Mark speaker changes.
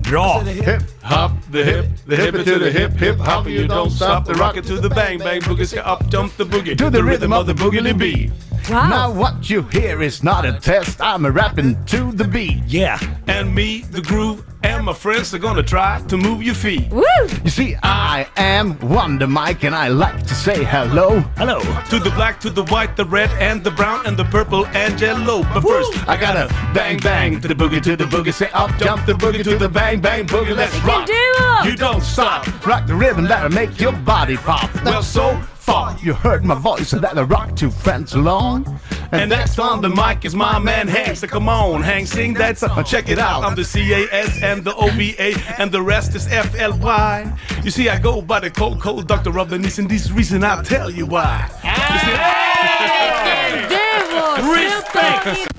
Speaker 1: Bra!
Speaker 2: Hip,
Speaker 3: Hop the hip, the hip into the hip, hip hop, you don't stop the rocket to the bang bang boogie, ska up jump the boogie
Speaker 2: To the rhythm of the boogily
Speaker 3: bee.
Speaker 4: Wow.
Speaker 2: Now what you hear is not a test. I'm rapping to the beat.
Speaker 1: Yeah.
Speaker 3: And me, the groove, and my friends are gonna try to move your feet.
Speaker 4: Woo!
Speaker 2: You see, I am Wonder Mike, and I like to say hello.
Speaker 1: Hello.
Speaker 3: To the black, to the white, the red, and the brown, and the purple, and yellow. But first,
Speaker 2: I gotta bang bang to the boogie to the boogie. Say up jump the boogie to the bang bang boogie. Let's
Speaker 4: You
Speaker 2: rock.
Speaker 4: can do
Speaker 3: you
Speaker 4: it!
Speaker 3: don't stop.
Speaker 2: Rock the rhythm that'll make your body pop.
Speaker 3: Well, so far.
Speaker 2: You heard my voice and that'll rock two friends along.
Speaker 3: And next on the mic is my man Hank. So come on, Hank, sing that song. Check it out. I'm the CAS and the OVA, and the rest is FLY. You see, I go by the cold, cold doctor of the knees, and this reason I'll tell you why. You see-
Speaker 4: Devo! Respect!